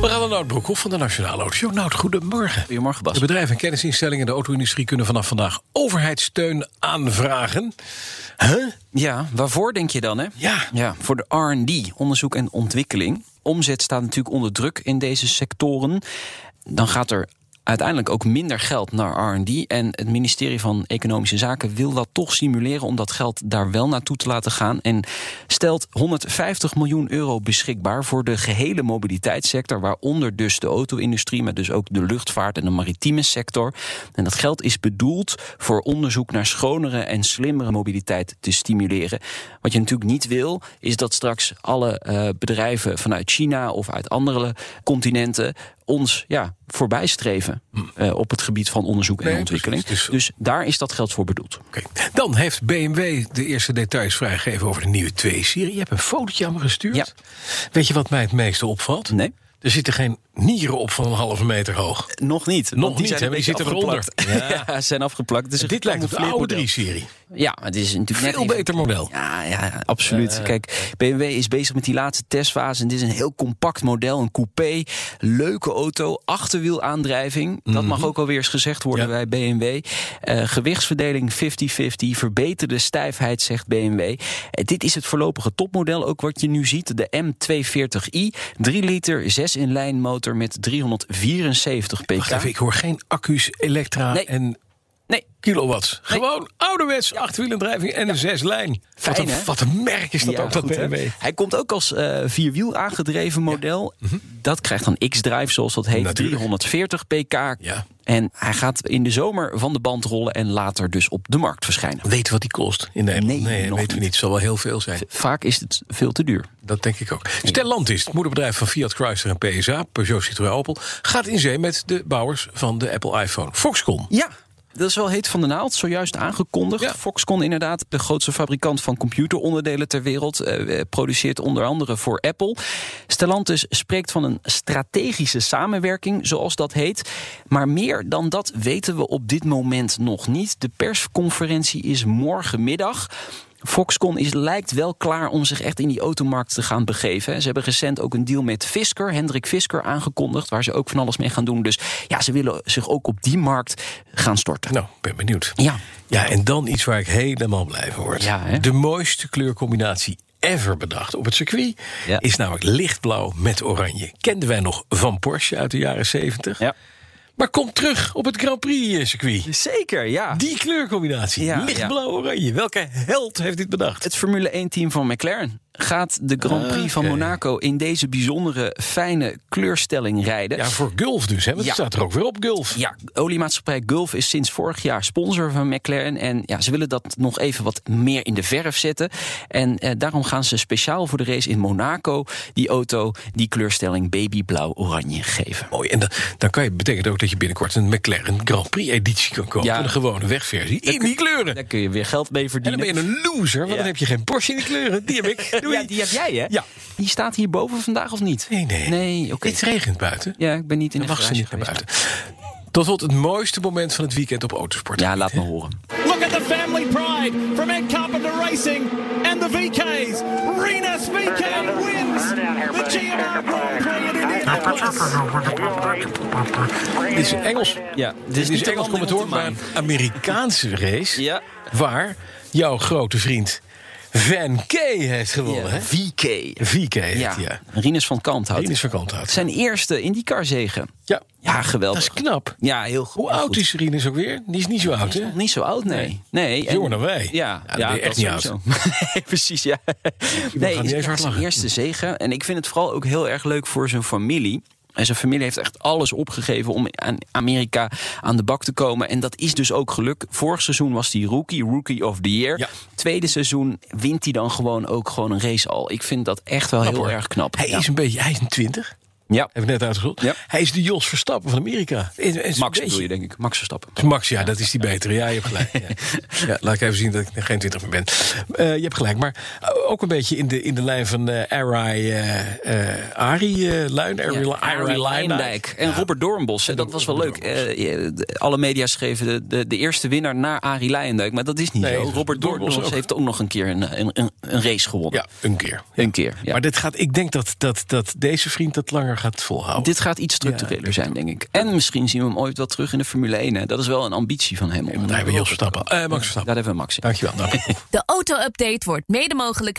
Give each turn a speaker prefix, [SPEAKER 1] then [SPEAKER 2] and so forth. [SPEAKER 1] We gaan naar Nout Broekhoff van de Nationale Auto. Nout, goedemorgen.
[SPEAKER 2] Goedemorgen, Bas.
[SPEAKER 1] De bedrijven en kennisinstellingen in de auto-industrie kunnen vanaf vandaag overheidssteun aanvragen. Huh?
[SPEAKER 2] Ja, waarvoor denk je dan, hè?
[SPEAKER 1] Ja.
[SPEAKER 2] voor de R&D, onderzoek en ontwikkeling. Omzet staat natuurlijk onder druk in deze sectoren. Dan gaat er uiteindelijk ook minder geld naar R&D. En het ministerie van Economische Zaken wil dat toch stimuleren... om dat geld daar wel naartoe te laten gaan. En stelt 150 miljoen euro beschikbaar voor de gehele mobiliteitssector... waaronder dus de auto-industrie, maar dus ook de luchtvaart en de maritieme sector. En dat geld is bedoeld voor onderzoek naar schonere en slimmere mobiliteit te stimuleren. Wat je natuurlijk niet wil, is dat straks alle eh, bedrijven vanuit China... of uit andere continenten ons ja, voorbij streven eh, op het gebied van onderzoek en
[SPEAKER 1] Hm. Nee,
[SPEAKER 2] ontwikkeling.
[SPEAKER 1] precies, dus-
[SPEAKER 2] Dus daar is dat geld voor bedoeld.
[SPEAKER 1] Oké. Dan heeft BMW de eerste details vrijgegeven over de nieuwe 2-serie. Je hebt een fotootje aan me gestuurd.
[SPEAKER 2] Ja.
[SPEAKER 1] Weet je wat mij het meeste opvalt?
[SPEAKER 2] Nee. Dus
[SPEAKER 1] Er zitten geen nieren op van een halve meter hoog.
[SPEAKER 2] Nog niet.
[SPEAKER 1] Nog
[SPEAKER 2] want die
[SPEAKER 1] niet, hè,
[SPEAKER 2] zijn een
[SPEAKER 1] maar die
[SPEAKER 2] beetje
[SPEAKER 1] zitten eronder.
[SPEAKER 2] afgeplakt. Ja. ze zijn afgeplakt. Het is een
[SPEAKER 1] Dit lijkt op de oude
[SPEAKER 2] gecamoufleerd
[SPEAKER 1] 3-serie.
[SPEAKER 2] model. Ja, maar het is natuurlijk
[SPEAKER 1] Veel
[SPEAKER 2] net even
[SPEAKER 1] beter model.
[SPEAKER 2] Ja, ja,
[SPEAKER 1] Eh,
[SPEAKER 2] absoluut. Kijk, BMW is bezig met die laatste testfase. En dit is een heel compact model, een coupé. Leuke auto, achterwielaandrijving. Dat mag ook alweer eens gezegd worden
[SPEAKER 1] Mhm. Ja.
[SPEAKER 2] bij BMW. Eh, gewichtsverdeling 50-50, verbeterde stijfheid, zegt BMW. Eh, dit is het voorlopige topmodel, ook wat je nu ziet. De M240i, 3 liter, 6 in lijn motor met 374 pk.
[SPEAKER 1] Wacht even, ik hoor geen accu's, elektra
[SPEAKER 2] Nee.
[SPEAKER 1] en
[SPEAKER 2] Nee,
[SPEAKER 1] kilowatts. Gewoon ouderwets, achtwielendrijving en een zeslijn. Wat,
[SPEAKER 2] Fijn,
[SPEAKER 1] een-
[SPEAKER 2] hè?
[SPEAKER 1] wat een merk is dat
[SPEAKER 2] Ja,
[SPEAKER 1] ook, dat
[SPEAKER 2] goed, hè?
[SPEAKER 1] BMW.
[SPEAKER 2] Hij komt ook als eh, vierwiel aangedreven model. Dat krijgt dan X-Drive, zoals dat heet.
[SPEAKER 1] Mhm. Natuurlijk.
[SPEAKER 2] 340 pk.
[SPEAKER 1] Ja.
[SPEAKER 2] En hij gaat in de zomer van de band rollen en later dus op de markt verschijnen.
[SPEAKER 1] Weet wat die kost in Nederland?
[SPEAKER 2] Nee,
[SPEAKER 1] nee weten
[SPEAKER 2] nog
[SPEAKER 1] we
[SPEAKER 2] niet.
[SPEAKER 1] niet. Het zal wel heel veel zijn.
[SPEAKER 2] Vaak is het veel te duur.
[SPEAKER 1] Dat denk ik ook. Stellantis, het moederbedrijf van Fiat Chrysler en PSA, Peugeot Citroën Opel, gaat in zee met de bouwers van de Apple iPhone. Foxconn.
[SPEAKER 2] Ja. Dat is wel heet van de naald, zojuist aangekondigd.
[SPEAKER 1] Ja.
[SPEAKER 2] Foxconn inderdaad, de grootste fabrikant van computeronderdelen ter wereld... eh, eh, produceert onder andere voor Apple. Stellantis spreekt van een strategische samenwerking, zoals dat heet. Maar meer dan dat weten we op dit moment nog niet. De persconferentie is morgenmiddag. Foxconn is, lijkt wel klaar om zich echt in die automarkt te gaan begeven. hè. Ze hebben recent ook een deal met Fisker, Hendrik Fisker, aangekondigd. Waar ze ook van alles mee gaan doen. Dus ja, ze willen zich ook op die markt gaan storten.
[SPEAKER 1] Nou, ben benieuwd.
[SPEAKER 2] Ja.
[SPEAKER 1] Ja, en dan iets waar ik helemaal blij van word.
[SPEAKER 2] Ja, hè?
[SPEAKER 1] de mooiste kleurcombinatie ever bedacht op het circuit
[SPEAKER 2] Ja.
[SPEAKER 1] is namelijk lichtblauw met oranje. Kenden wij nog van Porsche uit de jaren 70.
[SPEAKER 2] Ja.
[SPEAKER 1] Maar komt terug op het Grand Prix eh, circuit.
[SPEAKER 2] Zeker, ja.
[SPEAKER 1] Die kleurcombinatie,
[SPEAKER 2] Ja,
[SPEAKER 1] lichtblauw-oranje. Welke held heeft dit bedacht?
[SPEAKER 2] Het Formule 1-team van McLaren gaat de Grand Prix van
[SPEAKER 1] Oké.
[SPEAKER 2] Monaco in deze bijzondere fijne kleurstelling rijden.
[SPEAKER 1] Ja, voor Gulf dus, hè? Want
[SPEAKER 2] Ja.
[SPEAKER 1] het staat er ook weer op, Gulf.
[SPEAKER 2] Ja, oliemaatschappij Gulf is sinds vorig jaar sponsor van McLaren. En ja, ze willen dat nog even wat meer in de verf zetten. En eh, daarom gaan ze speciaal voor de race in Monaco die auto die kleurstelling babyblauw-oranje geven.
[SPEAKER 1] Mooi. En dan, dan kan je, betekent ook dat je binnenkort een McLaren Grand Prix editie kan kopen.
[SPEAKER 2] Ja.
[SPEAKER 1] Een gewone wegversie. In die kleuren.
[SPEAKER 2] Daar kun je weer geld mee
[SPEAKER 1] En dan ben je
[SPEAKER 2] verdienen.
[SPEAKER 1] een loser, want
[SPEAKER 2] Ja.
[SPEAKER 1] dan heb je geen Porsche in die kleuren. Die heb ik. Doei.
[SPEAKER 2] Ja, die heb jij, hè?
[SPEAKER 1] Ja.
[SPEAKER 2] Die staat hierboven vandaag of niet?
[SPEAKER 1] Nee, nee.
[SPEAKER 2] Nee, oké.
[SPEAKER 1] Het regent buiten.
[SPEAKER 2] Ja, ik ben niet in
[SPEAKER 1] Dan
[SPEAKER 2] de
[SPEAKER 1] mag ze
[SPEAKER 2] garage
[SPEAKER 1] niet naar
[SPEAKER 2] geweest.
[SPEAKER 1] buiten. Tot wordt het mooiste moment van het weekend op autosport.
[SPEAKER 2] Ja, laat me horen.
[SPEAKER 3] Look at the family pride from Ed Carpenter Racing and the VKs. Renus VK wins the GMR Grand Prix in Indianapolis.
[SPEAKER 1] Dit is Engels.
[SPEAKER 2] Ja, dit
[SPEAKER 1] Dit is
[SPEAKER 2] niet de
[SPEAKER 1] Engels
[SPEAKER 2] landing op de
[SPEAKER 1] commentaar, maar een
[SPEAKER 2] maan.
[SPEAKER 1] Amerikaanse race.
[SPEAKER 2] Ja.
[SPEAKER 1] Waar jouw grote vriend Van K heeft gewonnen.
[SPEAKER 2] Ja,
[SPEAKER 1] hè?
[SPEAKER 2] VK.
[SPEAKER 1] VK heet
[SPEAKER 2] Ja,
[SPEAKER 1] hij, ja.
[SPEAKER 2] Rinus van Kanthoudt.
[SPEAKER 1] Rinus van Kanthoudt.
[SPEAKER 2] Zijn eerste IndyCar-zegen.
[SPEAKER 1] Ja.
[SPEAKER 2] Ja,
[SPEAKER 1] Dat
[SPEAKER 2] geweldig.
[SPEAKER 1] is knap.
[SPEAKER 2] Ja, heel goed.
[SPEAKER 1] Hoe oud
[SPEAKER 2] goed.
[SPEAKER 1] is Rinus ook weer? Die is niet zo oud, hè?
[SPEAKER 2] Nog Niet zo oud, nee. nee. en-
[SPEAKER 1] Jonger dan wij.
[SPEAKER 2] Ja,
[SPEAKER 1] Ja, dan ben je echt niet
[SPEAKER 2] sowieso. Nee, precies, ja.
[SPEAKER 1] gaan
[SPEAKER 2] Nee,
[SPEAKER 1] niet
[SPEAKER 2] het
[SPEAKER 1] eens hard
[SPEAKER 2] is echt zijn
[SPEAKER 1] lachen.
[SPEAKER 2] eerste zegen. En ik vind het vooral ook heel erg leuk voor zijn familie. En zijn familie heeft echt alles opgegeven om aan Amerika aan de bak te komen. En dat is dus ook geluk. Vorig seizoen was hij rookie, rookie of the year.
[SPEAKER 1] Ja.
[SPEAKER 2] Tweede seizoen wint hij dan gewoon ook gewoon een race al. Ik vind dat echt wel heel
[SPEAKER 1] hoor.
[SPEAKER 2] erg knap.
[SPEAKER 1] Hij
[SPEAKER 2] Ja.
[SPEAKER 1] is een beetje, hij is een twintig.
[SPEAKER 2] Ja.
[SPEAKER 1] Heb ik net uitgezocht.
[SPEAKER 2] Ja.
[SPEAKER 1] Hij is de Jos Verstappen van Amerika. Is- is een
[SPEAKER 2] Max
[SPEAKER 1] beetje-
[SPEAKER 2] bedoel je, denk ik. Max Verstappen.
[SPEAKER 1] Is Max, ja, dat is die betere. Ja, je hebt gelijk. Ja. Ja, laat ik even zien dat ik geen twintig meer ben. Eh, je hebt gelijk, maar ook een beetje in de, in de lijn van eh Arai, eh, eh, Ari eh, Luin. Arie Lu-
[SPEAKER 2] Ja, Arie
[SPEAKER 1] Arie
[SPEAKER 2] Luijndijk en Robert Doornbos. hè, Dat was wel leuk.
[SPEAKER 1] Robert
[SPEAKER 2] Eh, de- alle media schreven de, de, de eerste winnaar na Arie Luijndijk. Maar dat is niet
[SPEAKER 1] Nee,
[SPEAKER 2] zo.
[SPEAKER 1] dat was
[SPEAKER 2] Robert
[SPEAKER 1] Doornbos
[SPEAKER 2] Doornbos
[SPEAKER 1] ook.
[SPEAKER 2] heeft ook nog een keer een, een, een, een race gewonnen.
[SPEAKER 1] Ja, een keer.
[SPEAKER 2] Een keer. Ja.
[SPEAKER 1] Maar dit gaat, ik denk dat, dat, dat deze vriend dat langer gaat volhouden.
[SPEAKER 2] Dit gaat iets structureler zijn, denk ik. En misschien zien we hem ooit wel terug in de Formule 1. hè. Dat is wel een ambitie van hem. om-
[SPEAKER 1] Want daar hebben we Jos Verstappen. Eh, Max Verstappen.
[SPEAKER 2] Daar hebben we Max in.
[SPEAKER 1] Dankjewel. Nou,
[SPEAKER 4] De auto-update wordt mede mogelijk